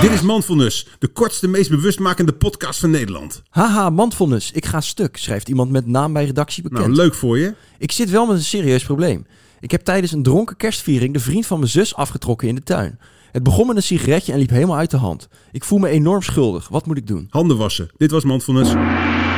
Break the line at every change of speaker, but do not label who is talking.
Dit is Mindfulness, de kortste, meest bewustmakende podcast van Nederland.
Haha, mindfulness. Ik ga stuk, schrijft iemand met naam bij redactie bekend.
Nou, leuk voor je.
Ik zit wel met een serieus probleem. Ik heb tijdens een dronken kerstviering de vriend van mijn zus afgetrokken in de tuin. Het begon met een sigaretje en liep helemaal uit de hand. Ik voel me enorm schuldig. Wat moet ik doen?
Handen wassen. Dit was Mindfulness.